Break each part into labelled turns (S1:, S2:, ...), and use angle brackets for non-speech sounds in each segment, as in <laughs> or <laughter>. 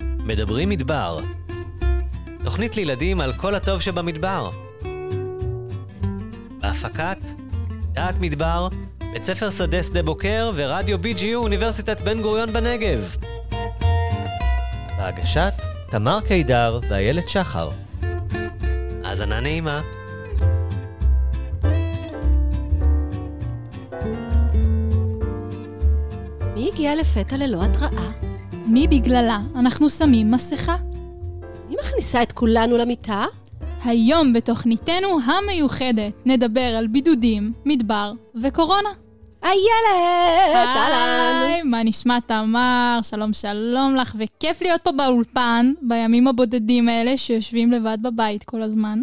S1: מדברים מדבר. תוכנית לילדים על כל הטוב שבמדבר. בהפקת דעת מדבר, בית ספר שדה שדה בוקר ורדיו BGU אוניברסיטת בן גוריון בנגב. בהגשת תמר קידר ואיילת שחר. האזנה נעימה.
S2: מי הגיע לפתע ללא התראה?
S3: מי בגללה אנחנו שמים מסכה?
S2: מי מכניסה את כולנו למיטה?
S3: היום בתוכניתנו המיוחדת נדבר על בידודים, מדבר וקורונה.
S2: איילת! אהלן!
S3: היי, מה נשמע תמר? שלום שלום לך, וכיף להיות פה באולפן בימים הבודדים האלה שיושבים לבד בבית כל הזמן.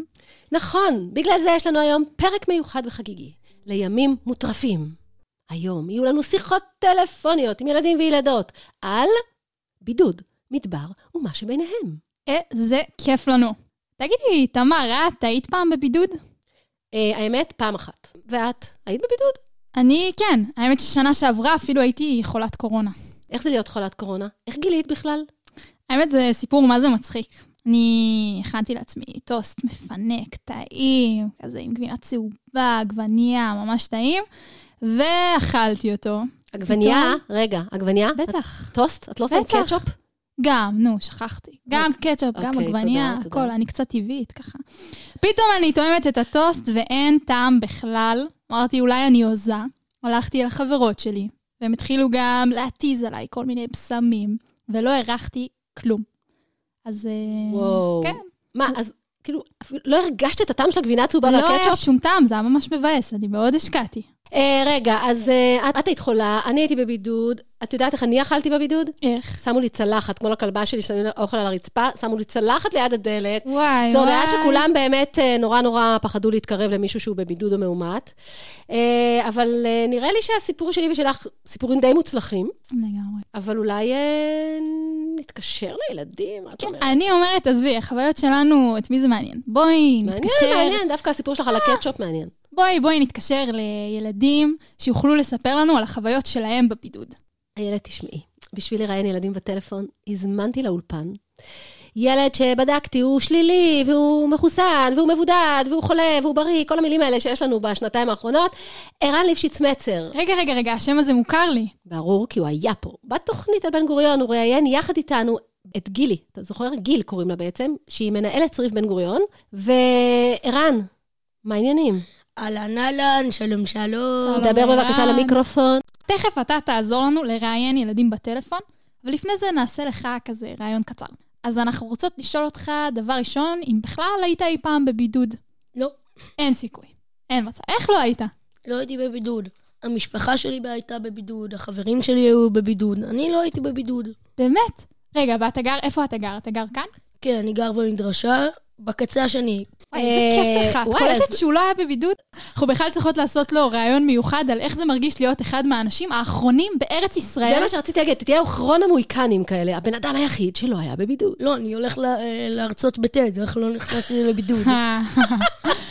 S2: נכון, בגלל זה יש לנו היום פרק מיוחד וחגיגי, לימים מוטרפים. היום יהיו לנו שיחות טלפוניות עם ילדים וילדות על בידוד, מדבר ומה שביניהם.
S3: איזה אה, כיף לנו. תגידי, תמר, את היית פעם בבידוד?
S2: אה, האמת, פעם אחת. ואת, היית בבידוד?
S3: אני כן. האמת ששנה שעברה אפילו הייתי חולת קורונה.
S2: איך זה להיות חולת קורונה? איך גילית בכלל?
S3: האמת, זה סיפור מה זה מצחיק. אני הכנתי לעצמי טוסט מפנק, טעים, כזה עם גבינה צהובה, עגבנייה, ממש טעים, ואכלתי אותו.
S2: עגבנייה,
S3: פתאום-
S2: רגע, עגבנייה?
S3: בטח.
S2: את- טוסט? את לא שמת
S3: בטח.
S2: קטשופ?
S3: גם, נו, שכחתי. גם קטשופ, גם
S2: אוקיי,
S3: עגבנייה,
S2: תודה, תודה.
S3: הכל, אני קצת טבעית, ככה. פתאום אני טועמת את הטוסט ואין טעם בכלל. אמרתי, אולי אני הוזה. הלכתי אל החברות שלי, והם התחילו גם להתיז עליי כל מיני בשמים, ולא הרחתי כלום. אז... אה,
S2: וואו.
S3: כן.
S2: מה, אז כאילו, אפילו לא הרגשת את הטעם של הגבינה הצהובה
S3: לא היה
S2: והקטשופ?
S3: שום טעם, זה היה ממש מבאס, אני מאוד השקעתי.
S2: אה, רגע, אז אה, את- את היית חולה, אני הייתי בבידוד. את יודעת איך אני אכלתי בבידוד?
S3: איך?
S2: שמו לי צלחת, כמו לכלבה שלי, ששמים לה אוכל על הרצפה, שמו לי צלחת ליד הדלת.
S3: וואי, וואי.
S2: זו הודעה שכולם באמת אה, נורא נורא פחדו להתקרב למישהו שהוא בבידוד או מאומת. אה, אבל אה, נראה לי שהסיפור שלי ושלך, סיפורים די מוצלחים,
S3: לגמרי.
S2: אבל אולי אה, נתקשר לילדים, מה את אומרת?
S3: כן, אני אומרת, עזבי, החוויות שלנו, את מי זה מעניין? בואי
S2: מעניין,
S3: נתקשר אה.
S2: מעניין, דווקא הסיפור שלך על הקטשופ מעניין.
S3: בואי, בואי נתקשר לילדים שיוכלו לספר לנו על החוויות שלהם בבידוד.
S2: איילת, תשמעי, בשביל לראיין ילדים בטלפון, הזמנתי לאולפן. ילד שבדקתי, הוא שלילי, והוא מחוסן, והוא מבודד, והוא חולה, והוא בריא, כל המילים האלה שיש לנו בשנתיים האחרונות, ערן ליפשיץ מצר.
S3: רגע, רגע, רגע, השם הזה מוכר לי.
S2: ברור, כי הוא היה פה. בתוכנית על בן גוריון הוא ראיין יחד איתנו את גילי, אתה זוכר? גיל קוראים לה בעצם, שהיא מנהלת צריף בן גוריון, וערן, מה העניינים?
S4: אהלן אהלן, שלום שלום.
S3: שלום,
S2: דבר בבקשה
S3: ערן.
S2: למיקרופון.
S3: תכף אתה תעזור לנו לראיין ילדים בטלפון, אבל לפני זה נעשה לך כזה ראיון קצר. אז אנחנו רוצות לשאול אותך, דבר ראשון, אם בכלל היית אי פעם בבידוד.
S4: לא,
S3: אין סיכוי. אין מצב. איך לא היית?
S4: לא הייתי בבידוד. המשפחה שלי הייתה בבידוד, החברים שלי היו בבידוד, אני לא הייתי בבידוד.
S3: באמת? רגע, ואתה גר, איפה אתה גר? אתה גר כאן?
S4: כן, אני גר במדרשה, בקצה השני.
S3: וואי, איזה כיף
S2: אה,
S3: לך. את
S2: וואי,
S3: קולטת
S2: אז-
S3: שהוא לא היה בבידוד? אנחנו בכלל צריכות לעשות לו ראיון מיוחד על איך זה מרגיש להיות אחד מהאנשים האחרונים בארץ ישראל.
S2: זה מה שרציתי להגיד, תהיה אחרון המוהיקנים כאלה, הבן אדם היחיד שלא היה בבידוד.
S4: לא, אני הולך ל- אה, להרצות בטד, איך לא נכנסתי
S3: <laughs>
S4: לבידוד.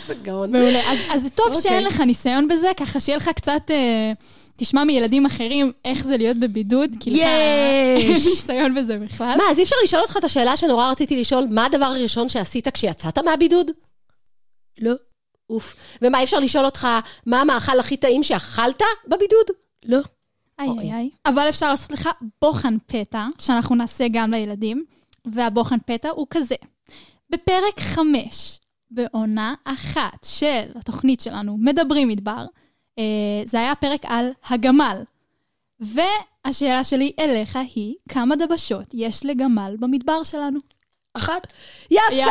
S2: זה גאון.
S3: אה, מעולה. אז, אז זה טוב
S2: אוקיי.
S3: שאין לך ניסיון בזה, ככה שיהיה לך קצת... אה, תשמע מילדים אחרים איך זה להיות בבידוד, כי לך אין
S4: יש!
S3: ניסיון בזה בכלל.
S2: מה, אז אי אפשר לשאול אותך את השאלה שנורא רציתי לשאול, מה הדבר הראשון שעשית כשיצאת מהבידוד?
S4: לא,
S2: אוף. ומה, אי אפשר לשאול אותך, מה המאכל הכי טעים שאכלת בבידוד?
S4: לא.
S3: איי
S2: אוי.
S3: איי איי. אבל אפשר לעשות לך בוחן פתע, שאנחנו נעשה גם לילדים, והבוחן פתע הוא כזה. בפרק 5, בעונה אחת של התוכנית שלנו, מדברים מדבר, אה, זה היה פרק על הגמל. והשאלה שלי אליך היא, כמה דבשות יש לגמל במדבר שלנו?
S4: אחת,
S2: יפה!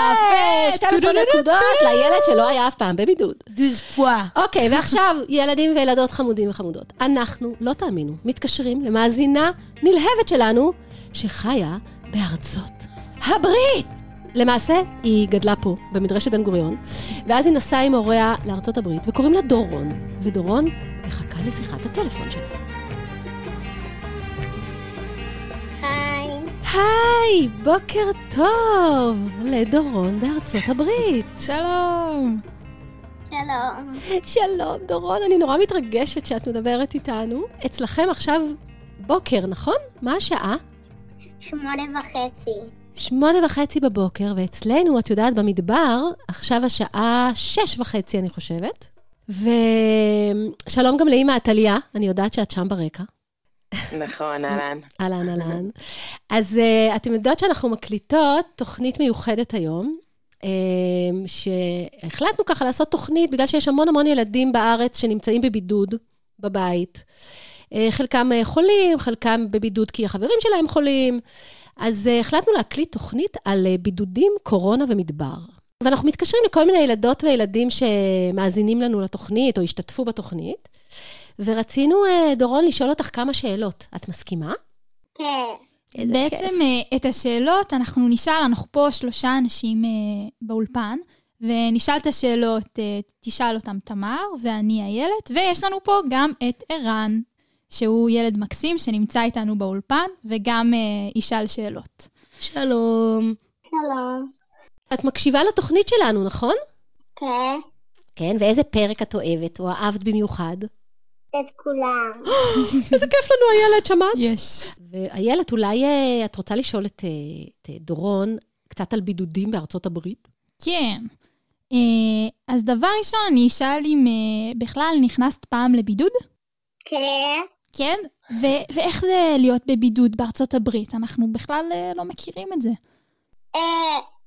S2: 12
S3: טודודודו,
S2: נקודות לילד שלא היה אף פעם בבידוד.
S4: דוז פואה.
S2: אוקיי, ועכשיו, ילדים וילדות חמודים וחמודות, אנחנו, לא תאמינו, מתקשרים למאזינה נלהבת שלנו, שחיה בארצות הברית. למעשה, היא גדלה פה, במדרשת בן גוריון, ואז היא נסעה עם הוריה לארצות הברית, וקוראים לה דורון, ודורון מחכה לשיחת הטלפון שלה.
S5: היי,
S2: היי, בוקר טוב לדורון בארצות הברית.
S3: שלום.
S5: שלום.
S2: שלום, דורון, אני נורא מתרגשת שאת מדברת איתנו. אצלכם עכשיו בוקר, נכון? מה השעה?
S5: שמונה וחצי.
S2: שמונה וחצי בבוקר, ואצלנו, את יודעת, במדבר, עכשיו השעה שש וחצי, אני חושבת. ושלום גם לאימא עתליה, אני יודעת שאת שם ברקע.
S6: נכון, אהלן.
S2: אהלן, אהלן. אז uh, אתם יודעות שאנחנו מקליטות תוכנית מיוחדת היום, um, שהחלטנו ככה לעשות תוכנית בגלל שיש המון המון ילדים בארץ שנמצאים בבידוד בבית. Uh, חלקם uh, חולים, חלקם בבידוד כי החברים שלהם חולים. אז uh, החלטנו להקליט תוכנית על uh, בידודים, קורונה ומדבר. ואנחנו מתקשרים לכל מיני ילדות וילדים שמאזינים לנו לתוכנית או השתתפו בתוכנית, ורצינו, אה, דורון, לשאול אותך כמה שאלות. את מסכימה?
S5: כן.
S2: איזה
S3: בעצם
S2: כיף.
S3: אה, את השאלות אנחנו נשאל, אנחנו פה שלושה אנשים אה, באולפן, ונשאל את השאלות, אה, תשאל אותם תמר ואני איילת, ויש לנו פה גם את ערן, שהוא ילד מקסים שנמצא איתנו באולפן, וגם אה, ישאל שאלות.
S4: שלום.
S5: שלום.
S2: את מקשיבה לתוכנית שלנו, נכון?
S5: כן.
S2: כן, ואיזה פרק את אוהבת, או אהבת במיוחד?
S5: את כולם.
S2: <laughs> איזה כיף לנו, איילת, שמעת?
S3: יש.
S2: ואיילת, אולי אה, את רוצה לשאול את, אה, את אה, דורון קצת על בידודים בארצות הברית?
S3: כן. אה, אז דבר ראשון, אני אשאל אם אה, בכלל נכנסת פעם לבידוד?
S5: כן.
S3: כן. ו- ואיך זה להיות בבידוד בארצות הברית? אנחנו בכלל אה, לא מכירים את זה.
S5: אה,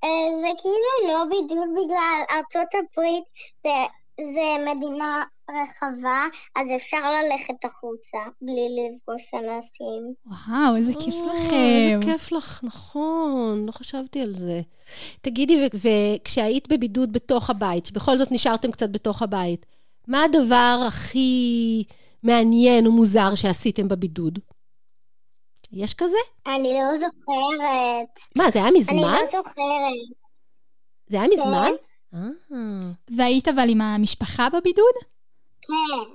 S5: אה, זה כאילו לא בדיוק בגלל ארצות הברית, זה- זה מדינה רחבה, אז אפשר ללכת החוצה בלי לפגוש אנשים.
S3: וואו, איזה כיף
S2: אה,
S3: לכם.
S2: איזה כיף לך, נכון, לא חשבתי על זה. תגידי, ו- וכשהיית בבידוד בתוך הבית, שבכל זאת נשארתם קצת בתוך הבית, מה הדבר הכי מעניין ומוזר שעשיתם בבידוד? יש כזה?
S5: אני לא זוכרת.
S2: מה, זה היה
S5: אני
S2: מזמן?
S5: לא זוכרת.
S2: זה היה מזמן? אה.
S3: והיית אבל עם המשפחה בבידוד?
S5: כן.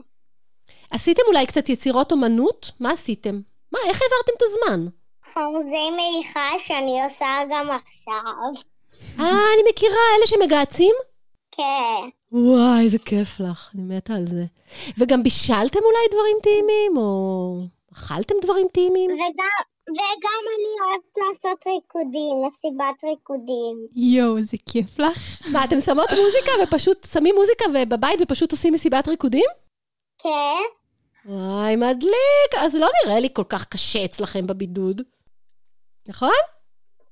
S2: עשיתם אולי קצת יצירות אומנות? מה עשיתם? מה, איך העברתם את הזמן?
S5: חרוזי מעיכה שאני עושה גם עכשיו.
S2: אה, אני מכירה, אלה שמגהצים?
S5: כן.
S2: וואי, איזה כיף לך, אני מתה על זה. וגם בישלתם אולי דברים טעימים, או אכלתם דברים טעימים?
S5: וגם, וגם אני אוהבת לעשות ריקודים, מסיבת ריקודים.
S3: יואו, איזה כיף לך.
S2: מה, אתם שמות מוזיקה ופשוט שמים מוזיקה ובבית ופשוט עושים מסיבת ריקודים?
S5: כן?
S2: וואי, מדליק. אז לא נראה לי כל כך קשה אצלכם בבידוד. נכון?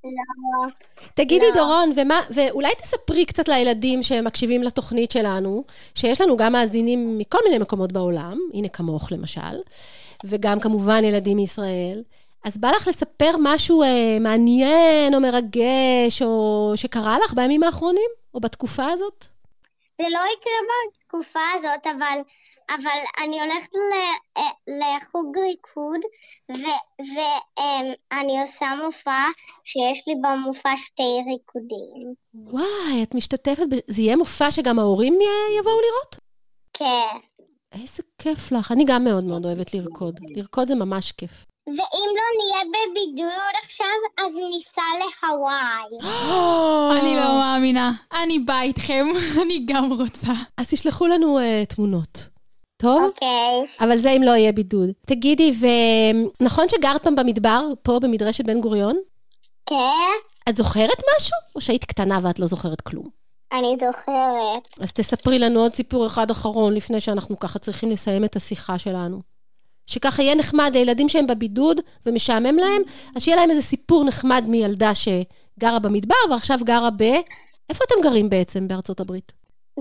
S5: לא.
S2: תגידי,
S5: לא.
S2: דורון, ומה, ואולי תספרי קצת לילדים שמקשיבים לתוכנית שלנו, שיש לנו גם מאזינים מכל מיני מקומות בעולם, הנה כמוך למשל, וגם כמובן ילדים מישראל. אז בא לך לספר משהו אה, מעניין או מרגש, או שקרה לך בימים האחרונים, או בתקופה הזאת?
S5: זה לא יקרה בתקופה הזאת, אבל, אבל אני הולכת ל, אה, לחוג ריקוד, ואני עושה מופע שיש לי במופע שתי ריקודים.
S2: וואי, את משתתפת, ב... זה יהיה מופע שגם ההורים אה, יבואו לראות?
S5: כן.
S2: איזה כיף לך. אני גם מאוד מאוד אוהבת לרקוד. לרקוד זה ממש כיף.
S5: ואם לא נהיה בבידוד עכשיו, אז ניסע להוואי.
S3: אני לא מאמינה. אני באה איתכם, <laughs> אני גם רוצה.
S2: אז תשלחו לנו אה, תמונות. טוב?
S5: אוקיי.
S2: אבל זה אם לא יהיה בידוד. תגידי, ונכון שגרת פעם במדבר, פה במדרשת בן גוריון?
S5: כן?
S2: את זוכרת משהו? או שהיית קטנה ואת לא זוכרת כלום?
S5: אני זוכרת.
S2: אז תספרי לנו עוד סיפור אחד אחרון לפני שאנחנו ככה צריכים לסיים את השיחה שלנו. שככה יהיה נחמד לילדים שהם בבידוד ומשעמם להם, אז שיהיה להם איזה סיפור נחמד מילדה שגרה במדבר ועכשיו גרה ב... איפה אתם גרים בעצם בארצות הברית?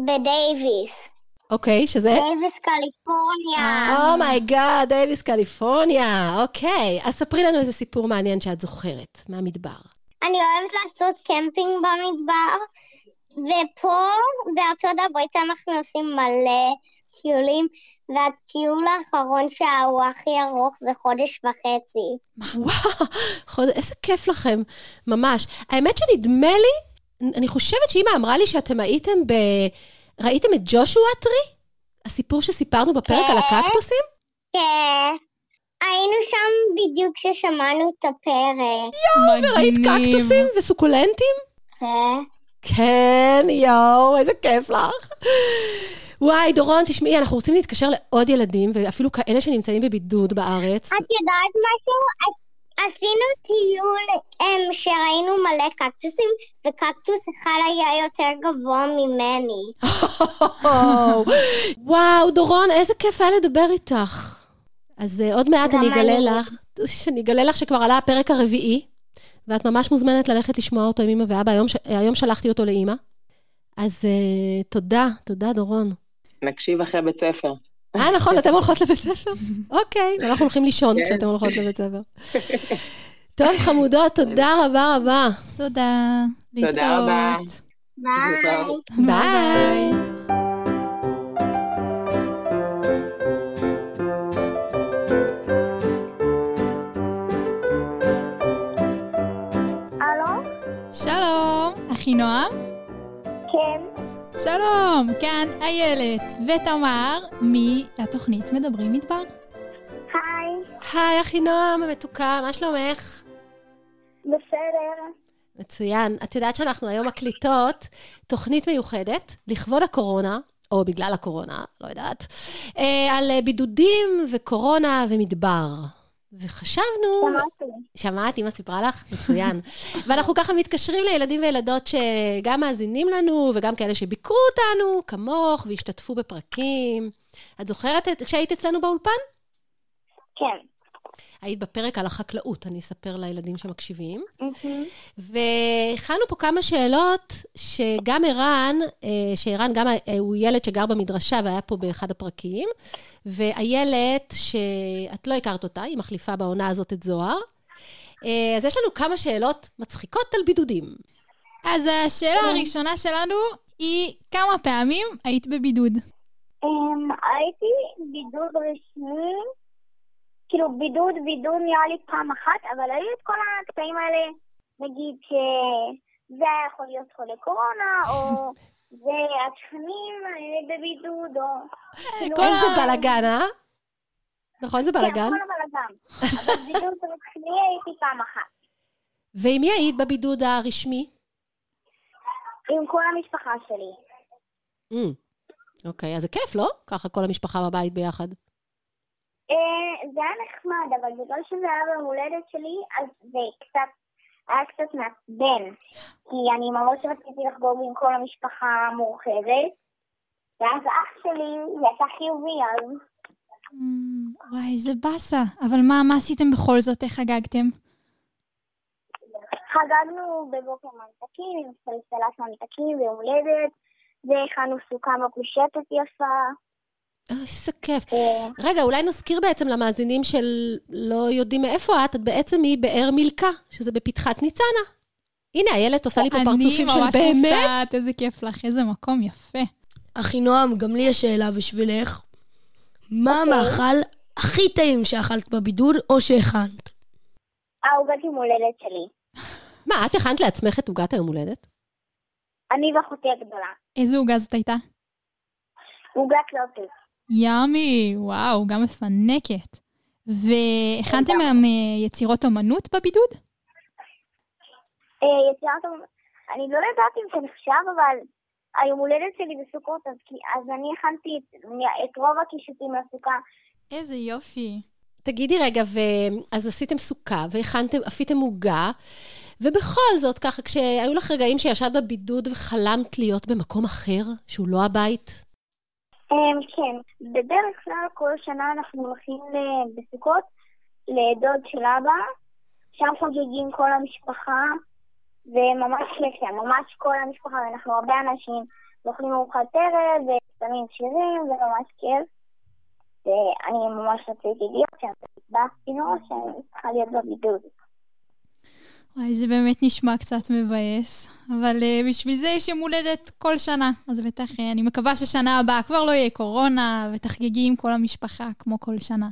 S5: בדייוויס.
S2: אוקיי, שזה... Oh
S5: דייוויס,
S2: אה,
S5: קליפורניה.
S2: אומייגאד, דייוויס קליפורניה, אוקיי. אז ספרי לנו איזה סיפור מעניין שאת זוכרת, מהמדבר.
S5: אני אוהבת לעשות קמפינג במדבר, ופה בארצות הברית אנחנו עושים מלא טיולים, והטיול האחרון שהוא הכי ארוך זה חודש וחצי.
S2: וואו, חוד... איזה כיף לכם, ממש. האמת שנדמה לי, אני חושבת שאימא אמרה לי שאתם הייתם ב... ראיתם את ג'ושוע טרי? הסיפור שסיפרנו בפרק על הקקטוסים?
S5: כן. היינו שם בדיוק כששמענו את הפרק.
S3: יואו,
S2: ראית קקטוסים וסוקולנטים?
S5: כן.
S2: כן, יואו, איזה כיף לך. וואי, דורון, תשמעי, אנחנו רוצים להתקשר לעוד ילדים, ואפילו כאלה שנמצאים בבידוד בארץ.
S5: את יודעת משהו? את- עשינו טיול אמ, שראינו מלא קקטוסים, וקקטוס אחד היה יותר גבוה ממני.
S2: וואו, דורון, איזה כיף היה לדבר איתך. אז אה, עוד מעט
S5: גם
S2: אני אגלה
S5: אני.
S2: לך, אני אגלה לך שכבר עלה הפרק הרביעי, ואת ממש מוזמנת ללכת לשמוע אותו עם אמא ואבא, היום, ש- היום שלחתי אותו לאמא. אז אה, תודה, תודה, דורון.
S6: נקשיב אחרי בית ספר.
S2: אה, נכון, אתם הולכות לבית ספר? אוקיי, אנחנו הולכים לישון
S6: כן.
S2: כשאתם הולכות לבית ספר. טוב, חמודות, תודה רבה רבה.
S3: תודה.
S6: תודה רבה.
S3: להתראות.
S5: ביי.
S2: ביי.
S5: הלו?
S3: שלום, אחי נועם.
S5: כן.
S3: שלום, כאן איילת ותמר מהתוכנית מדברים מדבר.
S5: היי.
S2: היי, אחי נועם המתוקה, מה שלומך?
S5: בסדר.
S2: מצוין. את יודעת שאנחנו היום מקליטות תוכנית מיוחדת לכבוד הקורונה, או בגלל הקורונה, לא יודעת, אה, על אה, בידודים וקורונה ומדבר. וחשבנו... שמעת? אימא סיפרה לך? מצוין. ואנחנו ככה מתקשרים לילדים וילדות שגם מאזינים לנו, וגם כאלה שביקרו אותנו, כמוך, והשתתפו בפרקים. את זוכרת את- כשהיית אצלנו באולפן?
S5: כן.
S2: היית בפרק על החקלאות, אני אספר לילדים שמקשיבים. והכנו פה כמה שאלות שגם ערן, אה, שערן גם אה, הוא ילד שגר במדרשה והיה פה באחד הפרקים, ואיילת, שאת לא הכרת אותה, היא מחליפה בעונה הזאת את זוהר. אה, אז יש לנו כמה שאלות מצחיקות על בידודים.
S3: אז השאלה הראשונה שלנו היא כמה פעמים היית בבידוד?
S5: אמ, הייתי בידוד רשמי, כאילו בידוד, בידוד נראה לי פעם אחת, אבל היו את כל הקטעים האלה, נגיד שזה היה יכול להיות חולה קורונה,
S2: <laughs>
S5: או זה השכנים אה, בבידוד, או... כאילו,
S2: כל איזה בלאגן, אה? נכון, זה
S5: כן,
S2: בלאגן?
S5: כל הבלאגן. אבל בידוד רשמי הייתי פעם אחת,
S2: ועם מי היית בבידוד הרשמי?
S5: עם כל המשפחה שלי.
S2: אה, אוקיי, אז זה כיף, לא? ככה כל המשפחה בבית ביחד.
S5: אה, זה היה נחמד, אבל בגלל שזה היה ביום הולדת שלי, אז זה קצת, היה קצת מעצבן. כי אני ממש רציתי לחגוג עם כל המשפחה המורחבת, ואז אח שלי יצא חיובי, אז
S3: אמ, וואי, זה באסה. אבל מה, מה עשיתם בכל זאת? איך חגגתם?
S5: חגגנו בבוקר ממתקים, עם סלסלת ממתקים ויום הולדת, והכנו סוכה מקושטת יפה.
S2: אה, איזה כיף.
S5: אה,
S2: רגע, אולי נזכיר בעצם למאזינים שלא יודעים מאיפה את, את בעצם מבאר מילכה, שזה בפתחת ניצנה. הנה, איילת עושה לי פה פרצופים של
S3: אני ממש
S2: באמת.
S3: מופתעת, איזה כיף לך, איזה מקום יפה.
S4: אחי נועם, גם לי יש שאלה בשבילך. מה המאכל הכי טעים שאכלת בבידוד או שהכנת?
S5: העוגת יום הולדת שלי.
S2: מה, את הכנת לעצמך את עוגת היום הולדת?
S5: אני ואחותי הגדולה.
S3: איזה עוגה זאת הייתה?
S5: עוגת לוטוס.
S3: ימי, וואו, גם מפנקת. והכנתם גם אה, יצירות אומנות בבידוד?
S5: אה, יצירת אומנות, אני לא יודעת אם זה נחשב, אבל היום הולדת שלי בסוכות, אז, כי- אז אני הכנתי את, את רוב הקישוטים לסוכה.
S3: איזה יופי.
S2: תגידי רגע, ו... אז עשיתם סוכה, והכנתם, אפיתם עוגה, ובכל זאת, ככה, כשהיו לך רגעים שישבת בבידוד וחלמת להיות במקום אחר, שהוא לא הבית?
S5: אה, כן, בדרך כלל כל שנה אנחנו הולכים ל- בסוכות לדוד של אבא, שם חוגגים כל המשפחה, וממש כיף שם, ממש כל המשפחה, ואנחנו הרבה אנשים, ואוכלים ארוחת ערב, ושמים שירים, זה ממש כיף. ואני ממש רציתי להיות שם, והתבאסתי נורא שאני צריכה להיות בבידוד.
S3: וואי, זה באמת נשמע קצת מבאס, אבל uh, בשביל זה יש יום הולדת כל שנה, אז בטח uh, אני מקווה ששנה הבאה כבר לא יהיה קורונה, ותחגגי עם כל המשפחה כמו כל שנה.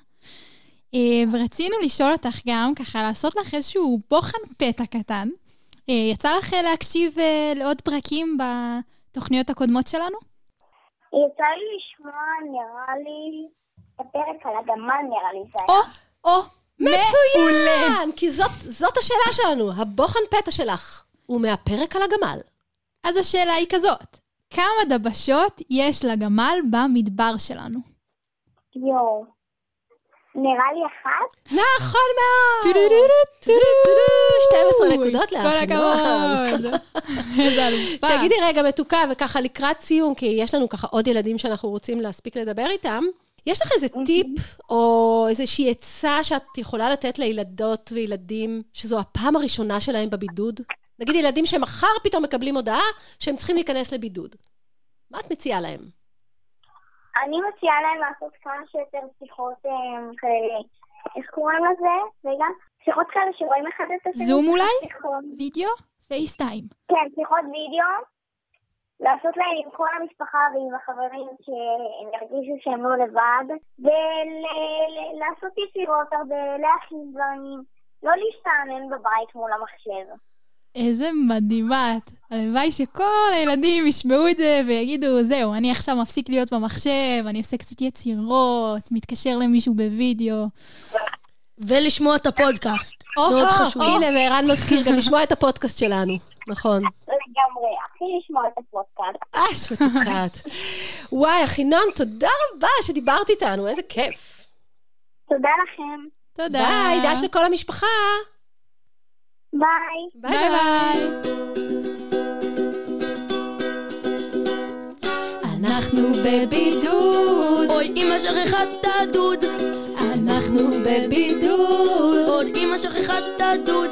S3: Uh, ורצינו לשאול אותך גם, ככה, לעשות לך איזשהו בוחן פתע קטן. Uh, יצא לך אה, להקשיב uh, לעוד פרקים בתוכניות הקודמות שלנו?
S5: יצא לי לשמוע, נראה לי, את הפרק על הגמל, נראה לי זה
S3: או,
S5: היה.
S3: או, מעולה!
S2: כן, כי זאת, זאת השאלה שלנו, הבוחן פתע שלך. הוא מהפרק על הגמל.
S3: אז השאלה היא כזאת, כמה דבשות יש לגמל במדבר שלנו?
S5: יואו. נראה לי אחת.
S2: נכון מאוד!
S3: טו-דו-דו-דו, טו-דו-דו.
S2: 12 נקודות לאחים.
S3: כל הכבוד. איזה אלופה.
S2: תגידי רגע, מתוקה, וככה לקראת סיום, כי יש לנו ככה עוד ילדים שאנחנו רוצים להספיק לדבר איתם, יש לך איזה טיפ או איזושהי עצה שאת יכולה לתת לילדות וילדים שזו הפעם הראשונה שלהם בבידוד? נגיד ילדים שמחר פתאום מקבלים הודעה שהם צריכים להיכנס לבידוד. מה את מציעה להם?
S5: אני מציעה להם לעשות כמה שיותר שיחות אה, כאלה, איך קוראים לזה? רגע, שיחות כאלה שרואים אחד את השני.
S3: זום אולי?
S5: שיחות-
S3: וידאו? פייסטיים.
S5: כן, שיחות וידאו. לעשות להם עם כל המשפחה ועם החברים שהם ירגישו שהם לא לבד. ולעשות יצירות הרבה, להכין דברים. לא להסתענן בבית מול המחשב.
S3: איזה מדהימה את. הלוואי שכל הילדים ישמעו את זה ויגידו, זהו, אני עכשיו מפסיק להיות במחשב, אני עושה קצת יצירות, מתקשר למישהו בווידאו.
S4: ולשמוע את הפודקאסט.
S3: או,
S4: מאוד
S3: או,
S4: חשוב.
S3: או.
S2: הנה, וערן מזכיר גם לשמוע את הפודקאסט שלנו. נכון.
S5: לגמרי, הכי לשמוע את הפודקאסט.
S2: אש, מתוקת. וואי, אחינם, תודה רבה שדיברת איתנו, איזה כיף.
S5: תודה לכם.
S3: תודה.
S2: ביי, דש לכל המשפחה.
S5: ביי.
S2: ביי
S3: ביי ביי. אנחנו בבידוד,
S4: אוי, אמא שכחה את הדוד.
S3: אנחנו בבידוד.
S4: אוי, אמא שכחה את הדוד.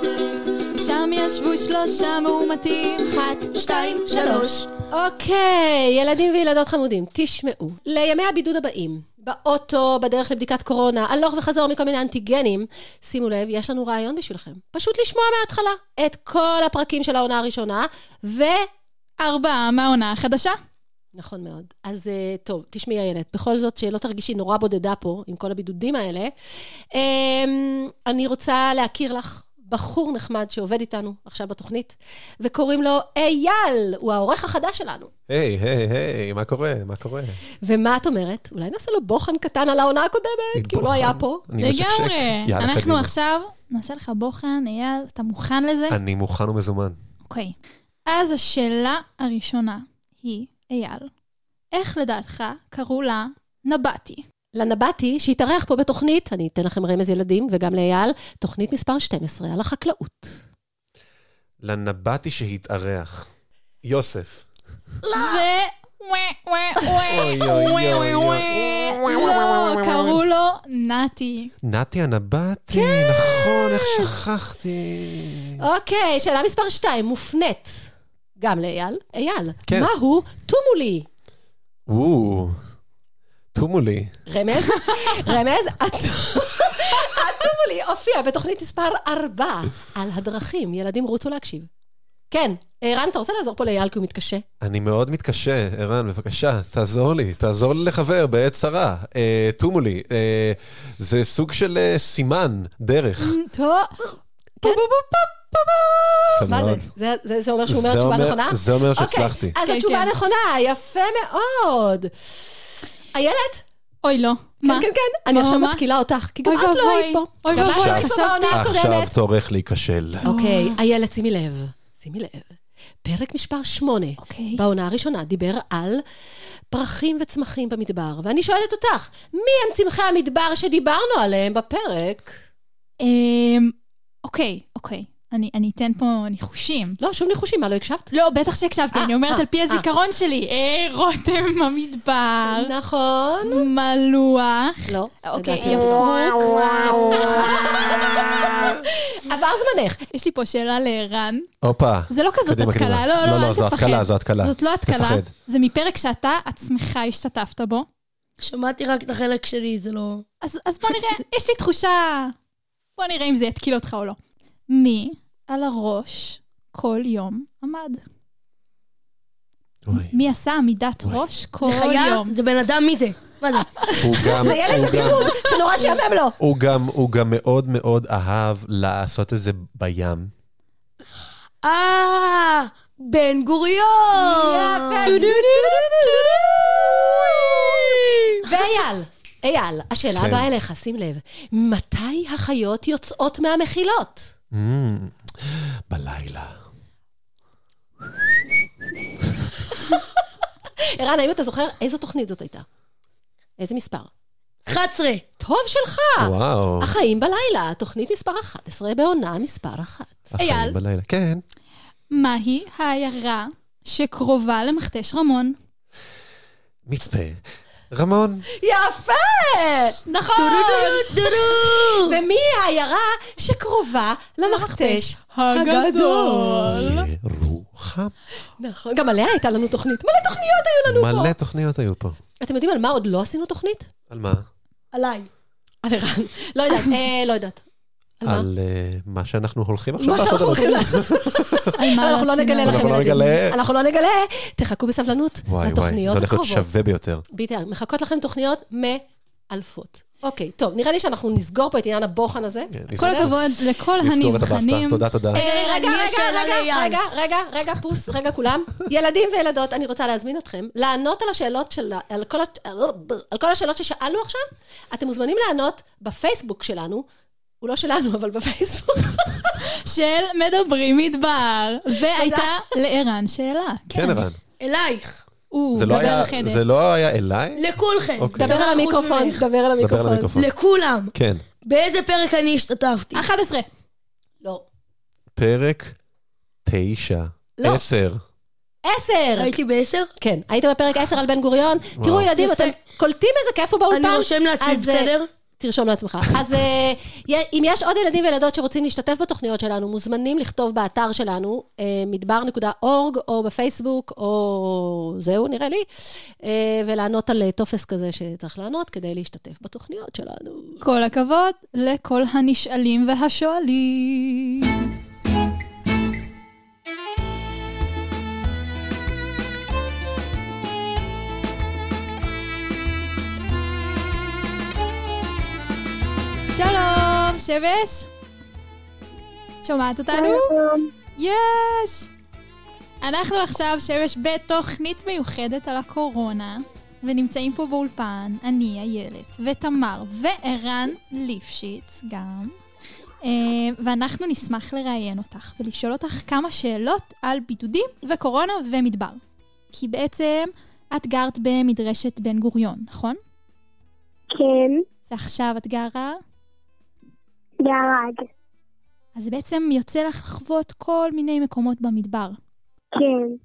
S3: שם ישבו שלושה מאומתים. אחת,
S4: שתיים, שלוש.
S2: אוקיי, ילדים וילדות חמודים, תשמעו. לימי הבידוד הבאים, באוטו, בדרך לבדיקת קורונה, הלוך וחזור מכל מיני אנטיגנים, שימו לב, יש לנו רעיון בשבילכם. פשוט לשמוע מההתחלה את כל הפרקים של העונה הראשונה, ו...
S3: ארבע, מהעונה החדשה.
S2: נכון מאוד. אז uh, טוב, תשמעי, איילת, בכל זאת שלא תרגישי נורא בודדה פה עם כל הבידודים האלה. Um, אני רוצה להכיר לך בחור נחמד שעובד איתנו עכשיו בתוכנית, וקוראים לו אייל, הוא העורך החדש שלנו.
S7: היי, היי, היי, מה קורה? מה קורה?
S2: אה, ומה את אומרת? אולי נעשה לו בוחן קטן על העונה הקודמת, כי הוא לא
S7: בוחן.
S2: היה פה.
S7: אני משקשק.
S3: לגמרי.
S7: יאללה,
S3: אנחנו
S7: קדימה.
S3: עכשיו נעשה לך בוחן, אייל, אתה מוכן לזה?
S7: אני מוכן ומזומן.
S3: אוקיי. אז השאלה הראשונה היא, אייל, איך לדעתך קראו לה נבטי?
S2: לנבטי, שהתארח פה בתוכנית, אני אתן לכם רמז ילדים, וגם לאייל, תוכנית מספר 12 על החקלאות.
S7: לנבטי שהתארח. יוסף.
S3: זה... ווא, ווא,
S2: אה,
S7: אוי,
S3: ווא,
S7: אוי,
S3: ווא,
S7: אוי,
S3: ווא,
S7: אוי.
S3: ווא. לא, קראו לו נתי.
S7: נתי הנבטי,
S2: כן.
S7: נכון, איך שכחתי.
S2: אוקיי, שאלה מספר 2, מופנית גם לאייל. אייל,
S7: כן.
S2: מהו טומולי?
S7: וואו, טומולי.
S2: רמז? <laughs> רמז? הט- <laughs> הטומולי הופיע בתוכנית מספר 4 על הדרכים. ילדים, רוצו להקשיב. כן, ערן, אתה רוצה לעזור פה לאייל כי הוא מתקשה?
S7: אני מאוד מתקשה, ערן, בבקשה, תעזור לי, תעזור לי לחבר בעת צרה. אה, טומולי, אה, זה סוג של אה, סימן, דרך.
S2: טוב.
S7: יפה
S2: כן? מה זה?
S7: מאוד.
S2: זה- זה- זה אומר שהוא אומר
S7: זה
S2: תשובה נכונה?
S7: זה אומר שהצלחתי.
S2: אוקיי, אז
S3: כן,
S2: התשובה
S3: כן.
S2: נכונה, יפה מאוד. איילת?
S3: אוי, לא. מה?
S2: כן, כן, כן. אני
S3: מה,
S2: עכשיו
S3: מה?
S2: מתקילה אותך, כי גם
S3: אוי
S2: את לא
S3: ואבוי.
S2: היית פה.
S3: אוי
S2: גם את לא
S3: ואבוי,
S2: היית פה
S3: חשבתי. אה.
S2: בעונה
S7: עכשיו
S2: הקודמת.
S7: תורך להיכשל.
S2: אוקיי, איילת, שימי לב. שימי לב. פרק מספר 8,
S3: אוקיי.
S2: בעונה הראשונה, דיבר על פרחים וצמחים במדבר. ואני שואלת אותך, מי הם צמחי המדבר שדיברנו עליהם בפרק?
S3: אמ, אוקיי, אוקיי. אני אני אתן פה ניחושים.
S2: לא, שום ניחושים, מה, לא הקשבת?
S3: לא, בטח שהקשבתי,
S2: אה,
S3: אני אומרת
S2: אה,
S3: על פי
S2: אה.
S3: הזיכרון שלי. אה, רותם המדבר,
S2: נכון.
S3: מלוח.
S2: לא.
S3: אוקיי,
S2: לדעתי לא.
S3: יפוק.
S2: עבר זמנך.
S3: יש לי פה שאלה לערן.
S7: הופה.
S3: זה לא כזאת
S7: קדימה,
S3: התקלה,
S7: קדימה.
S3: לא, לא,
S7: לא,
S3: אל
S7: זו
S3: תפחד.
S7: התקלה, זו התקלה.
S3: זאת לא התקלה,
S7: תפחד.
S3: זה מפרק שאתה עצמך השתתפת בו.
S4: שמעתי רק את החלק שלי, זה לא...
S3: אז, אז בוא נראה,
S2: <laughs>
S3: יש לי תחושה... בוא נראה אם זה יתקיל אותך או לא. מי על הראש כל יום עמד?
S7: אוי.
S3: מי עשה עמידת
S7: אוי.
S3: ראש כל
S4: זה חיה?
S3: יום?
S4: זה בן אדם, מי זה? מה זה?
S3: <laughs>
S7: הוא גם,
S2: זה ילד
S7: הוא גם,
S2: בבידוד, שנורא
S4: <laughs>
S2: שיאמם לו.
S7: הוא גם, הוא גם מאוד מאוד אהב לעשות את זה בים.
S4: אה, בן גוריון!
S2: יפה. ואייל, אייל, השאלה
S7: כן.
S2: הבאה אליך, שים לב. מתי החיות יוצאות מהמחילות?
S7: Mm, בלילה.
S2: ערן, האם אתה זוכר איזו תוכנית זאת הייתה? איזה מספר?
S4: 11.
S2: טוב שלך.
S3: אה,
S7: וואו.
S2: החיים בלילה, תוכנית מספר 11 בעונה מספר 1.
S7: החיים
S3: אייל.
S7: בלילה. כן.
S3: מהי העיירה שקרובה למכתש רמון?
S7: מצפה. רמון.
S2: יפה! נכון!
S4: דודו!
S2: ומי העיירה שקרובה למכתש
S3: לא,
S2: הגדול?
S7: ירוחם.
S2: נכון, גם עליה הייתה לנו תוכנית. מלא תוכניות
S3: לא,
S2: היו לנו פה.
S7: מלא תוכניות היו פה.
S2: אתם יודעים על מה עוד לא עשינו תוכנית?
S7: על מה?
S4: עליי.
S2: על ערן. לא יודעת, אה, לא יודעת. על מה?
S7: על אה, מה שאנחנו הולכים עכשיו
S2: מה
S7: לעשות.
S2: שאנחנו
S7: על
S2: הולכים
S7: התוכנית.
S2: לעשות.
S3: על מה
S2: אנחנו לא
S3: עשינו?
S2: נגלה לכם
S7: אנחנו לא נגלה.
S2: ילדים. אנחנו לא נגלה. תחכו בסבלנות
S7: וואי וואי, זה
S2: לתוכניות
S7: הולך להיות
S2: הקרובות.
S7: שווה ביותר.
S2: בדיוק, מחכות לכם תוכניות מאלפות. אוקיי, טוב, נראה לי שאנחנו נסגור פה את עניין הבוחן הזה.
S7: כן,
S3: כל
S7: נסגור-
S3: הכבוד לכל
S7: נסגור את
S3: הנבחנים.
S7: הבסטה. תודה, תודה.
S2: אה, רגע,
S4: אני
S2: רגע,
S4: השאלה
S2: רגע,
S4: לאייל.
S2: רגע, רגע, רגע, פוס, רגע, כולם. <laughs> ילדים וילדות, אני רוצה להזמין אתכם לענות על השאלות של... ה- על כל, הש- על כל השאלות ששאלנו עכשיו. אתם מוזמנים לענות בפייסבוק שלנו. הוא לא שלנו, אבל בפייסבוק. <laughs>
S3: של מדברים מדבר. והייתה לערן שאלה.
S7: כן, ערן.
S4: אלייך.
S3: הוא
S7: זה לא היה-
S3: מדבר בחדר.
S7: זה לא היה אליי?
S4: לכולכם.
S7: אוקיי.
S2: דבר על
S4: חוץ
S2: המיקרופון,
S4: ממך.
S2: דבר על
S7: דבר
S2: המיקרופון.
S7: למיקרופון.
S4: לכולם.
S7: כן.
S4: באיזה פרק אני השתתפתי?
S3: 11.
S2: לא.
S7: פרק תשע.
S2: לא.
S7: עשר.
S2: עשר!
S4: הייתי בעשר?
S2: כן, היית בפרק עשר על בן גוריון. תראו, ילדים,
S4: יפה.
S2: אתם קולטים איזה כיף הוא באולפן?
S4: אני רושם לעצמי,
S2: אז, אה,
S4: בסדר?
S2: תרשום לעצמך. אז אה, יה- אם יש עוד ילדים וילדות שרוצים להשתתף בתוכניות שלנו, מוזמנים לכתוב באתר שלנו, אה, מדבר.org, או בפייסבוק, או זהו, נראה לי, אה, ולענות על אה, טופס כזה שצריך לענות כדי להשתתף בתוכניות שלנו.
S3: כל הכבוד לכל הנשאלים והשואלים. שלום, שמש? שומעת אותנו? יש! אנחנו עכשיו שמש בתוכנית מיוחדת על הקורונה, ונמצאים פה באולפן, אני, איילת, ותמר, וערן ליפשיץ גם. אה, ואנחנו נשמח לראיין אותך ולשאול אותך כמה שאלות על בידודים וקורונה ומדבר. כי בעצם את גרת במדרשת בן גוריון, נכון?
S5: כן,
S3: ועכשיו את גרה
S5: ירד.
S3: אז בעצם יוצא לך לחוות כל מיני מקומות במדבר.
S5: כן,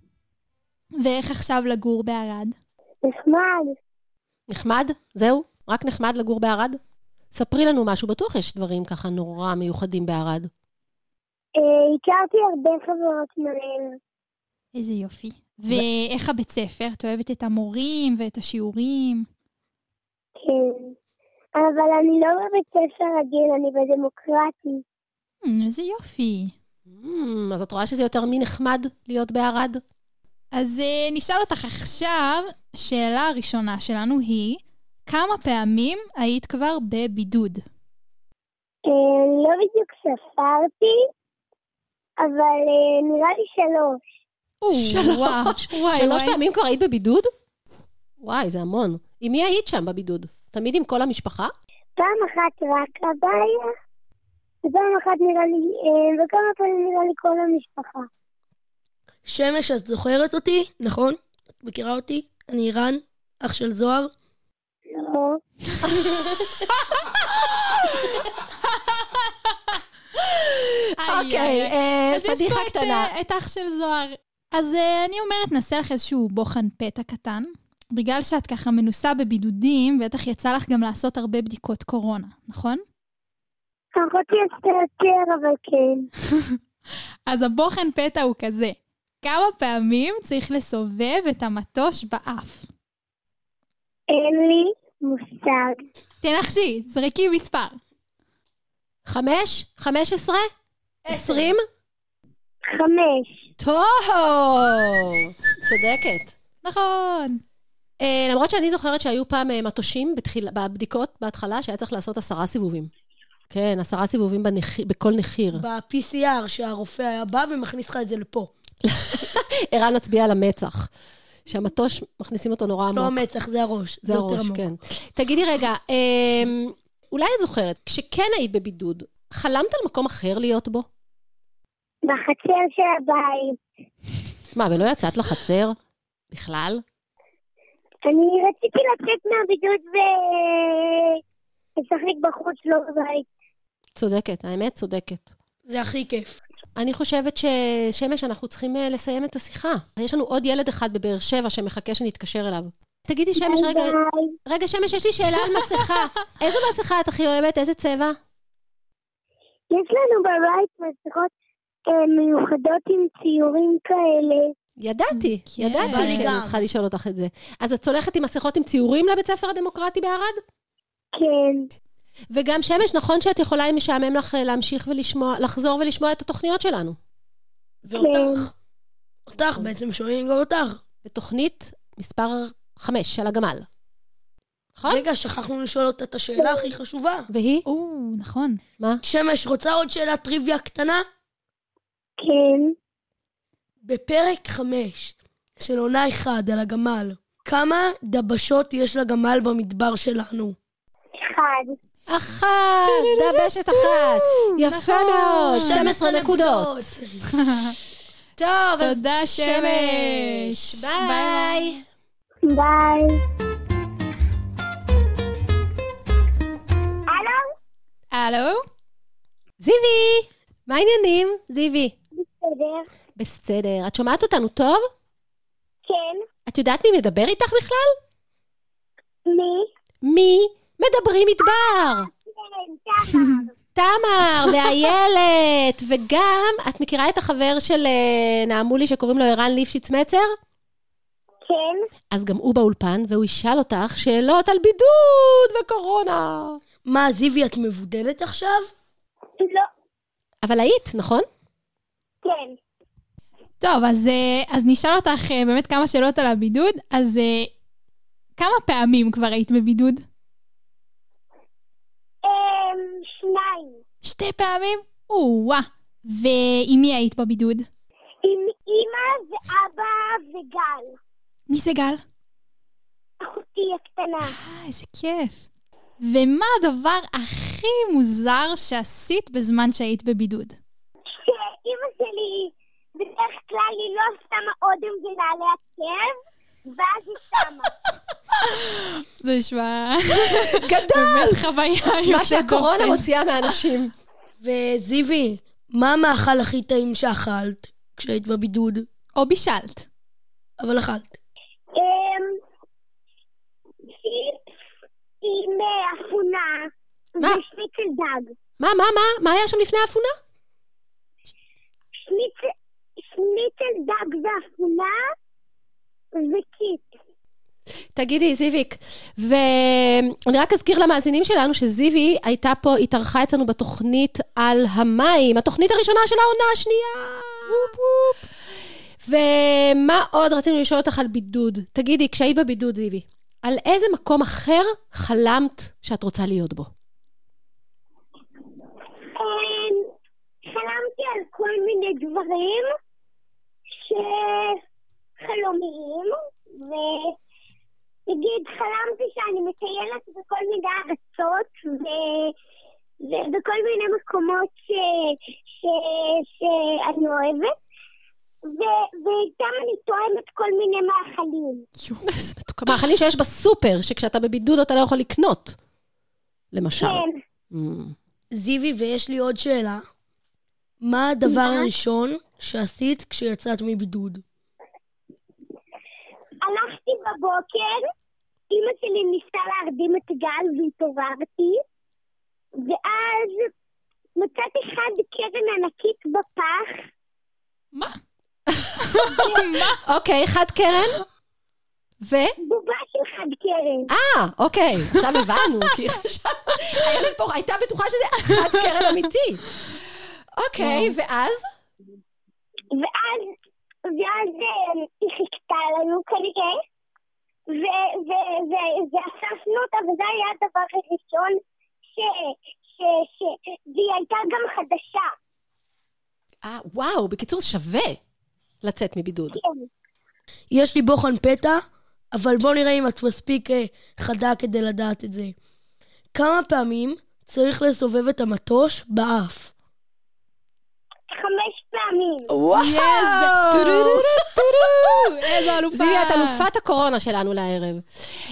S3: ואיך עכשיו לגור בערד?
S5: נחמד.
S2: נחמד? זהו? רק נחמד לגור בערד? ספרי לנו משהו, בטוח יש דברים ככה נורא מיוחדים בערד.
S5: אה, הכרתי הרבה חברות מהעיר.
S3: איזה יופי. ואיך הבית ספר? את אוהבת את המורים ואת השיעורים?
S5: כן. אבל אני לא בבית ספר רגיל, אני בדמוקרטי.
S3: Hmm, איזה יופי.
S2: אמ, אז את רואה שזה יותר מנחמד להיות בערד?
S3: אז אה, נשאל אותך עכשיו, שאלה הראשונה שלנו היא, כמה פעמים היית כבר בבידוד?
S5: אה, לא בדיוק ספרתי, אבל אה, נראה לי שלוש.
S3: או,
S2: שלוש.
S3: וואו, וואי,
S2: שלוש
S3: וואי.
S2: פעמים כבר היית בבידוד? וואי, זה המון. עם מי היית שם בבידוד? תמיד עם כל המשפחה?
S5: פעם אחת רק הבעיה, ופעם אחת נראה לי, אה, וכמה פעמים נראה לי כל המשפחה.
S4: שמש, את זוכרת אותי? נכון? את מכירה אותי? אני רן, אח של זוהר.
S5: לא.
S3: איי, איי, איי.
S2: אה,
S3: אז יש פה את, אה, את אח של זוהר. אז אה, אני אומרת, נעשה לך איזשהו בוחן פתע קטן. בגלל שאת ככה מנוסה בבידודים, בטח יצא לך גם לעשות הרבה בדיקות קורונה, נכון?
S5: אחותי עשתה יותר, אבל כן.
S3: אז הבוחן פתע הוא כזה, כמה פעמים צריך לסובב את המטוש באף?
S5: אין לי מושג.
S3: תנחשי, זרקי מספר.
S2: חמש? חמש עשרה? עשרים?
S5: חמש.
S2: טוב! צודקת.
S3: נכון.
S2: אה, למרות שאני זוכרת שהיו פעם אה, מטושים בתחיל... בבדיקות בהתחלה, שהיה צריך לעשות עשרה סיבובים. כן, עשרה סיבובים בנח... בכל נחיר.
S4: ב-PCR שהרופא היה בא ומכניס לך את זה לפה. לא
S2: ערן מצביע על המצח. שהמטוש, מכניסים אותו נורא עמוק.
S4: לא המצח, זה הראש.
S2: זה
S4: יותר
S2: הראש,
S4: עמוק.
S2: כן. תגידי רגע, אמ, אולי את זוכרת, כשכן היית בבידוד, חלמת על מקום אחר להיות בו?
S5: בחצר של הבית.
S2: מה, ולא יצאת לחצר? בכלל?
S5: אני רציתי לצאת מהבידוד ולשחק בחוץ, לא בבית.
S2: צודקת, האמת צודקת.
S4: זה הכי כיף.
S2: אני חושבת ששמש, אנחנו צריכים אה, לסיים את השיחה. יש לנו עוד ילד אחד בבאר שבע שמחכה שנתקשר אליו. תגידי, שמש, רגע,
S5: ביי.
S2: רגע, שמש, יש לי שאלה על מסכה. איזו מסכה את הכי אוהבת? איזה צבע?
S5: יש לנו בבית מסכות אה, מיוחדות עם ציורים כאלה.
S2: ידעתי,
S3: כן.
S2: ידעתי
S3: בא לי
S2: שאני
S4: גם.
S2: צריכה לשאול אותך את זה. אז את הולכת עם מסכות עם ציורים לבית ספר הדמוקרטי בערד?
S5: כן,
S2: וגם שמש, נכון שאת יכולה, אם משעמם לך, אה, להמשיך ולשמוע, לחזור ולשמוע את התוכניות שלנו.
S4: ואותך, אותך בעצם שומעים גם אותך.
S2: בתוכנית מספר 5 על הגמל. נכון?
S4: רגע, שכחנו לשאול אותה את השאלה הכי חשובה.
S2: והיא?
S3: או, נכון.
S2: מה?
S4: שמש, רוצה עוד שאלת טריוויה קטנה?
S5: כן.
S4: בפרק 5 של עונה 1 על הגמל, כמה דבשות יש לגמל במדבר שלנו?
S5: אחד.
S2: אחת, דבשת אחת. יפה
S3: נכון.
S2: מאוד, 12
S4: 12
S2: נקודות.
S4: טוב, אז
S3: תודה, שמש.
S2: ביי.
S5: ביי. הלו,
S3: הלו?
S2: זיוי, מה העניינים? זיוי.
S5: בסדר.
S2: בסדר. את שומעת אותנו טוב?
S5: כן.
S2: את יודעת מי מדבר איתך בכלל?
S5: מי?
S2: מי? מדברים מדבר!
S5: כן, תמר.
S2: תמר ואיילת, וגם, את מכירה את החבר של אה, נעמולי שקוראים לו ערן ליפשיץ מצר?
S5: כן.
S2: אז גם הוא באולפן, והוא ישאל אותך שאלות על בידוד וקורונה.
S4: מה, זיוי, את מבודלת עכשיו?
S5: לא.
S2: אבל היית, נכון?
S5: כן.
S3: טוב, אז, אה, אז נשאל אותך אה, באמת כמה שאלות על הבידוד. אז אה, כמה פעמים כבר היית בבידוד?
S5: אמ... שניים.
S3: שתי פעמים? או-אה. ועם מי היית בבידוד?
S5: עם אימא ואבא וגל.
S3: מי זה גל?
S5: אחותי הקטנה.
S3: אה, איזה כיף. ומה הדבר הכי מוזר שעשית בזמן שהיית בבידוד?
S5: שאימא שלי בדרך כלל היא לא שמה אודם בנעלי הכאב, ואז היא שמה.
S3: זה נשמע... גדול! <laughs> באמת חוויה
S2: מה שהקורונה מוציאה מהאנשים.
S4: וזיוי, מה המאכל הכי טעים שאכלת כשהיית בבידוד?
S3: או בישלת.
S4: אבל אכלת.
S5: אמ... פיפס עם אה, אפונה
S2: מה?
S5: ושניץ של דג.
S2: מה, מה, מה? מה היה שם לפני האפונה?
S5: שניץ- שניץ של דג ואפונה וקיט.
S2: תגידי, זיוויק, ואני רק אזכיר למאזינים שלנו שזיוי הייתה פה, התארחה אצלנו בתוכנית על המים, התוכנית הראשונה של העונה השנייה. ומה עוד רצינו לשאול אותך על בידוד? תגידי, כשהיית בבידוד, זיוי, על איזה מקום אחר חלמת שאת רוצה להיות בו?
S5: אמ, חלמתי על כל מיני דברים שחלומיים, ונגיד חלמתי שאני מטיילת בכל מיני ארצות, ו... ובכל מיני מקומות ש... ש... שאני אוהבת, ו... ואיתם אני תואמת כל מיני מאכלים.
S2: מאכלים שיש בסופר, שכשאתה בבידוד אתה לא יכול לקנות, למשל.
S5: כן,
S2: Mm.
S4: זיוי, ויש לי עוד שאלה. מה הדבר הראשון שעשית כשיצאת מבידוד?
S5: הלכתי בבוקר, אימא שלי ניסתה להרדים את גל והתעוררתי, ואז מצאתי חד קרן ענקית בפח,
S3: מה?
S2: אוקיי, חד קרן? ו?
S5: בובה של חד קרן.
S2: אה, אוקיי, עכשיו הבנו, כי עכשיו הילד פה הייתה בטוחה שזה חד קרן אמיתי. אוקיי, ואז?
S5: ואז, ואז אה, היא חיכתה לנו כנראה, ו- ו- ו- ואספנו אותה, וזה היה הדבר הראשון ש... ש- ש- והיא הייתה גם חדשה,
S2: אה, וואו, בקיצור, שווה לצאת מבידוד.
S5: כן.
S4: יש לי בוחן פתע, אבל בוא נראה אם את מספיק אה, חדה כדי לדעת את זה. כמה פעמים צריך לסובב את המטוש באף?
S5: חמש פעמים. פעמים.
S4: וואו!
S3: <laughs> יז! טו-דו-דו-דו-דו-דו! איזו אלופה.
S2: זיוי, את אלופת הקורונה שלנו לערב.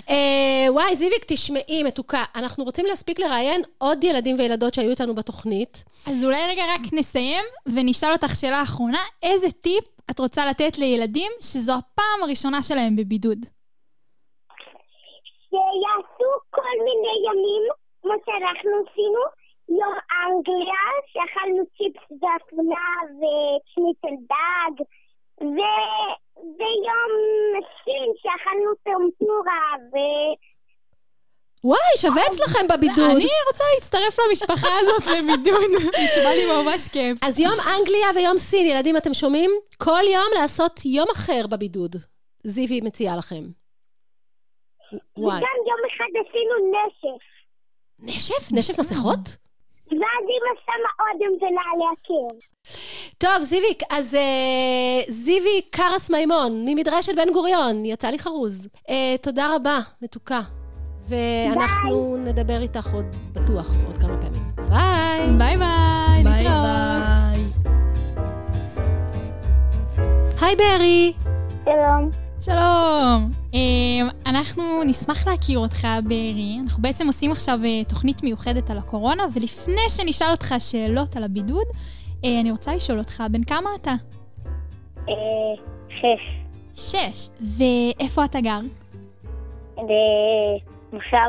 S2: אה, וואי, זיוויק, תשמעי, מתוקה. אנחנו רוצים להספיק לראיין עוד ילדים וילדות שהיו איתנו בתוכנית.
S3: אז אולי רגע רק נסיים ונשאל אותך שאלה אחרונה, איזה טיפ את רוצה לתת לילדים שזו הפעם הראשונה שלהם <laughs> בבידוד?
S5: שיעשו כל מיני ימים, כמו שאנחנו עשינו, יום אנגליה, שאכלנו צ'יפס ואפונה ושניצל דג, ו... ויום סין שאכלנו טמפורה, ו...
S2: וואי, שווה אצלכם בבידוד.
S3: אני רוצה להצטרף
S2: <laughs>
S3: למשפחה הזאת לבידוד. <laughs> נשמע לי ממש כיף.
S2: אז יום אנגליה ויום סין, ילדים, אתם שומעים? כל יום לעשות יום אחר בבידוד. זיוי מציעה לכם. וואי.
S5: וגם יום אחד עשינו נשף.
S2: נשף? נשף מסכות?
S5: ואז אמא שמה אודם ונעלי הקיר.
S2: טוב, זיוויק, אז אה, זיווי קרס מימון, ממדרשת בן גוריון, יצא לי חרוז. אה, תודה רבה, מתוקה. ואנחנו נדבר איתך עוד, בטוח, עוד כמה פעמים. ביי!
S3: ביי ביי,
S4: ביי
S3: להתראות.
S4: ביי.
S2: היי ברי!
S5: שלום.
S3: שלום. אמ, אנחנו נשמח להכיר אותך, בארי. אנחנו בעצם עושים עכשיו אה, תוכנית מיוחדת על הקורונה, ולפני שנשאל אותך שאלות על הבידוד, אה, אני רוצה לשאול אותך, בן כמה אתה?
S5: אה, שש.
S3: שש. ואיפה אתה גר?
S5: אה, במושב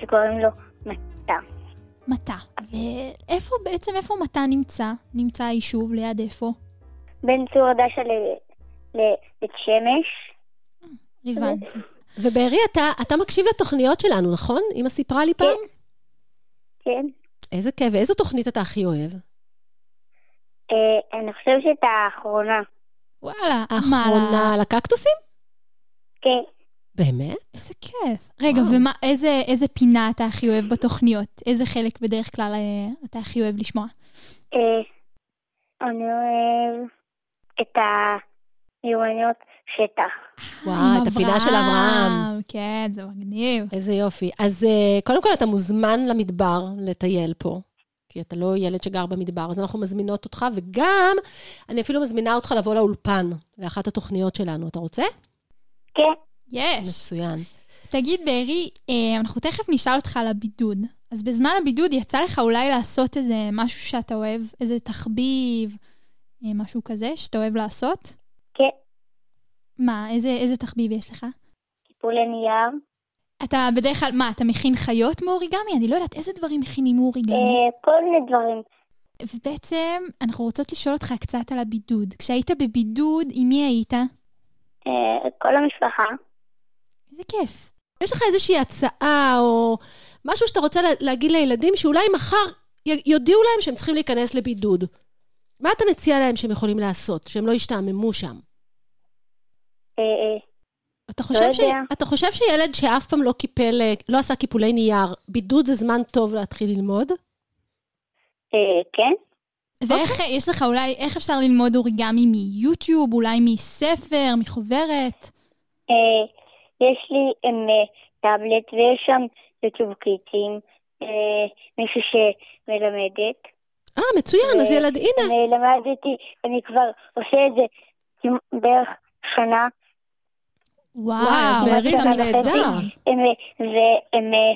S5: שקוראים אה, לו מטה.
S3: מטע. ואיפה בעצם, איפה מטע נמצא? נמצא היישוב, ליד איפה?
S5: בין צור הדסה לבית שמש.
S3: הבנתי.
S2: וברי, אתה, אתה מקשיב לתוכניות שלנו, נכון? אמא סיפרה לי פעם?
S5: כן.
S2: איזה כיף, ואיזו תוכנית אתה הכי אוהב?
S5: אה, אני חושבת שאת האחרונה.
S3: וואלה,
S2: האחרונה
S3: מעלה.
S2: על הקקטוסים?
S5: כן.
S2: באמת?
S3: איזה כיף. רגע,
S2: וואו.
S3: ומה, איזה, איזה פינה אתה הכי אוהב בתוכניות? איזה חלק בדרך כלל אה, אתה הכי אוהב לשמוע?
S5: אה, אני אוהב את המיומנויות שטח.
S2: וואו, את
S3: עם
S2: הפינה של אברהם.
S3: כן, זה מגניב.
S2: איזה יופי. אז אה, קודם כל, אתה מוזמן למדבר לטייל פה, כי אתה לא ילד שגר במדבר, אז אנחנו מזמינות אותך, וגם אני אפילו מזמינה אותך לבוא לאולפן, לאחת התוכניות שלנו. אתה רוצה?
S5: כן.
S3: יש.
S2: מצוין.
S3: תגיד, בארי, אה, אנחנו תכף נשאל אותך על הבידוד. אז בזמן הבידוד יצא לך אולי לעשות איזה משהו שאתה אוהב, איזה תחביב, אה, משהו כזה שאתה אוהב לעשות?
S5: כן.
S3: מה, איזה, איזה תחביב יש לך?
S5: טיפולי נייר. אה,
S3: אתה בדרך כלל, מה, אתה מכין חיות מאוריגמי? אני לא יודעת איזה דברים מכינים מאוריגמי.
S5: אה, כל מיני דברים.
S3: ובעצם, אנחנו רוצות לשאול אותך קצת על הבידוד. כשהיית בבידוד, עם מי היית?
S5: אה, כל המשפחה.
S3: איזה כיף.
S2: יש לך איזושהי הצעה או משהו שאתה רוצה לה- להגיד לילדים, שאולי מחר י- יודיעו להם שהם צריכים להיכנס לבידוד. מה אתה מציע להם שהם יכולים לעשות, שהם לא ישתעממו שם?
S5: אה, אה,
S2: אתה חושב, ש...
S5: יודע.
S2: אתה חושב שילד שאף פעם לא קיפל, אה, לא עשה קיפולי נייר, בידוד זה זמן טוב להתחיל ללמוד?
S5: אה, כן.
S3: ואיך
S5: אוקיי.
S3: יש לך אולי, איך אפשר ללמוד אוריגמי מיוטיוב, אולי מספר, מחוברת?
S5: אה, יש לי עם אה, טאבלט ויש שם יוטיוב קיטים, אה, מישהו שמלמדת.
S2: אה, מצוין, אז
S5: אה,
S2: ילד, הנה.
S5: אני למדתי, אני כבר עושה את זה עם- בערך שנה.
S3: וואו,
S2: אז
S3: מה
S2: בארי,
S3: אתה
S2: זה
S3: מתחיל?
S2: נהדר.
S5: הם, אה, והם, אה,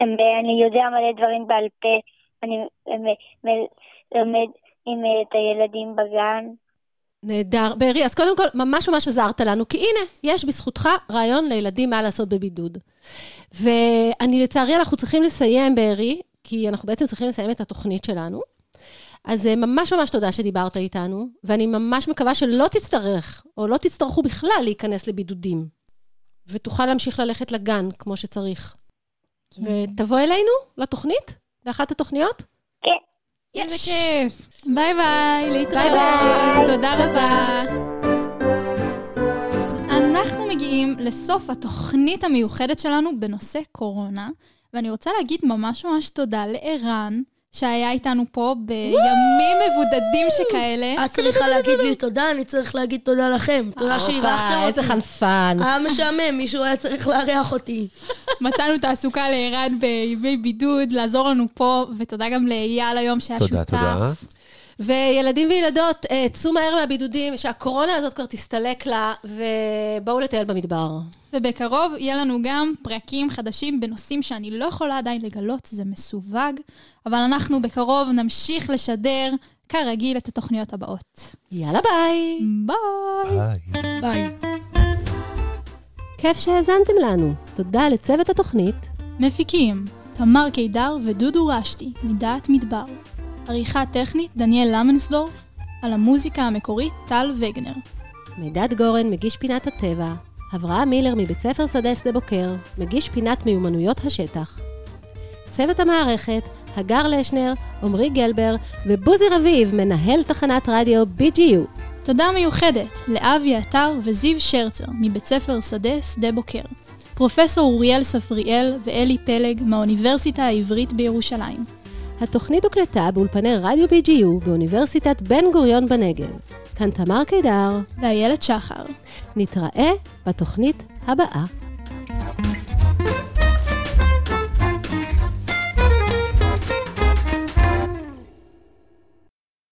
S5: הם, אה, אני יודע מלא דברים בעל פה, אני הם, אה, מלמד עם אה, את הילדים בגן.
S2: נהדר. בארי, אז קודם כל, ממש ממש עזרת לנו, כי הנה, יש בזכותך רעיון לילדים מה לעשות בבידוד. ואני, לצערי, אנחנו צריכים לסיים, בארי, כי אנחנו בעצם צריכים לסיים את התוכנית שלנו. אז אה, ממש ממש תודה שדיברת איתנו, ואני ממש מקווה שלא תצטרך, או לא תצטרכו בכלל להיכנס לבידודים, ותוכל להמשיך ללכת לגן כמו שצריך. ותבוא אלינו, לתוכנית, לאחת התוכניות.
S3: איזה
S2: יש.
S3: כיף. ביי ביי, להתראות.
S5: ביי.
S3: תודה רבה. אנחנו מגיעים לסוף התוכנית המיוחדת שלנו בנושא קורונה, ואני רוצה להגיד ממש ממש תודה לערן, שהיה איתנו פה בימים מבודדים שכאלה.
S4: את צריכה להגיד לי תודה, אני צריך להגיד תודה לכם. תודה שאירחתם
S2: הופה,
S4: אותי.
S2: אה, איזה חנפן.
S4: היה משעמם, מישהו היה צריך לארח אותי.
S3: מצאנו תעסוקה לערן בימי בידוד, לעזור לנו פה, ותודה גם לאייל היום שהיה שותף.
S7: תודה, תודה.
S2: וילדים וילדות, אה, צאו מהר מהבידודים, שהקורונה הזאת כבר תסתלק לה, ובואו לטייל במדבר.
S3: ובקרוב יהיה לנו גם פרקים חדשים בנושאים שאני לא יכולה עדיין לגלות, זה מסווג, אבל אנחנו בקרוב נמשיך לשדר, כרגיל, את התוכניות הבאות.
S2: יאללה ביי!
S3: ביי!
S7: היי.
S4: ביי.
S2: כיף שהאזנתם לנו. תודה לצוות התוכנית,
S3: מפיקים תמר קידר ודודו רשתי, מדעת מדבר. עריכה טכנית דניאל למנסדורף, על המוזיקה המקורית טל וגנר.
S2: מידד גורן, מגיש פינת הטבע, אברהם מילר מבית ספר שדה שדה בוקר, מגיש פינת מיומנויות השטח. צוות המערכת, הגר לשנר, עמרי גלבר ובוזי רביב, מנהל תחנת רדיו BGU.
S3: תודה מיוחדת לאבי עטר וזיו שרצר, מבית ספר שדה שדה בוקר. פרופסור אוריאל ספריאל ואלי פלג מהאוניברסיטה העברית בירושלים.
S2: התוכנית הוקלטה באולפני רדיו BGU באוניברסיטת בן גוריון בנגב. כאן תמר קידר,
S3: ואיילת שחר.
S2: נתראה בתוכנית הבאה.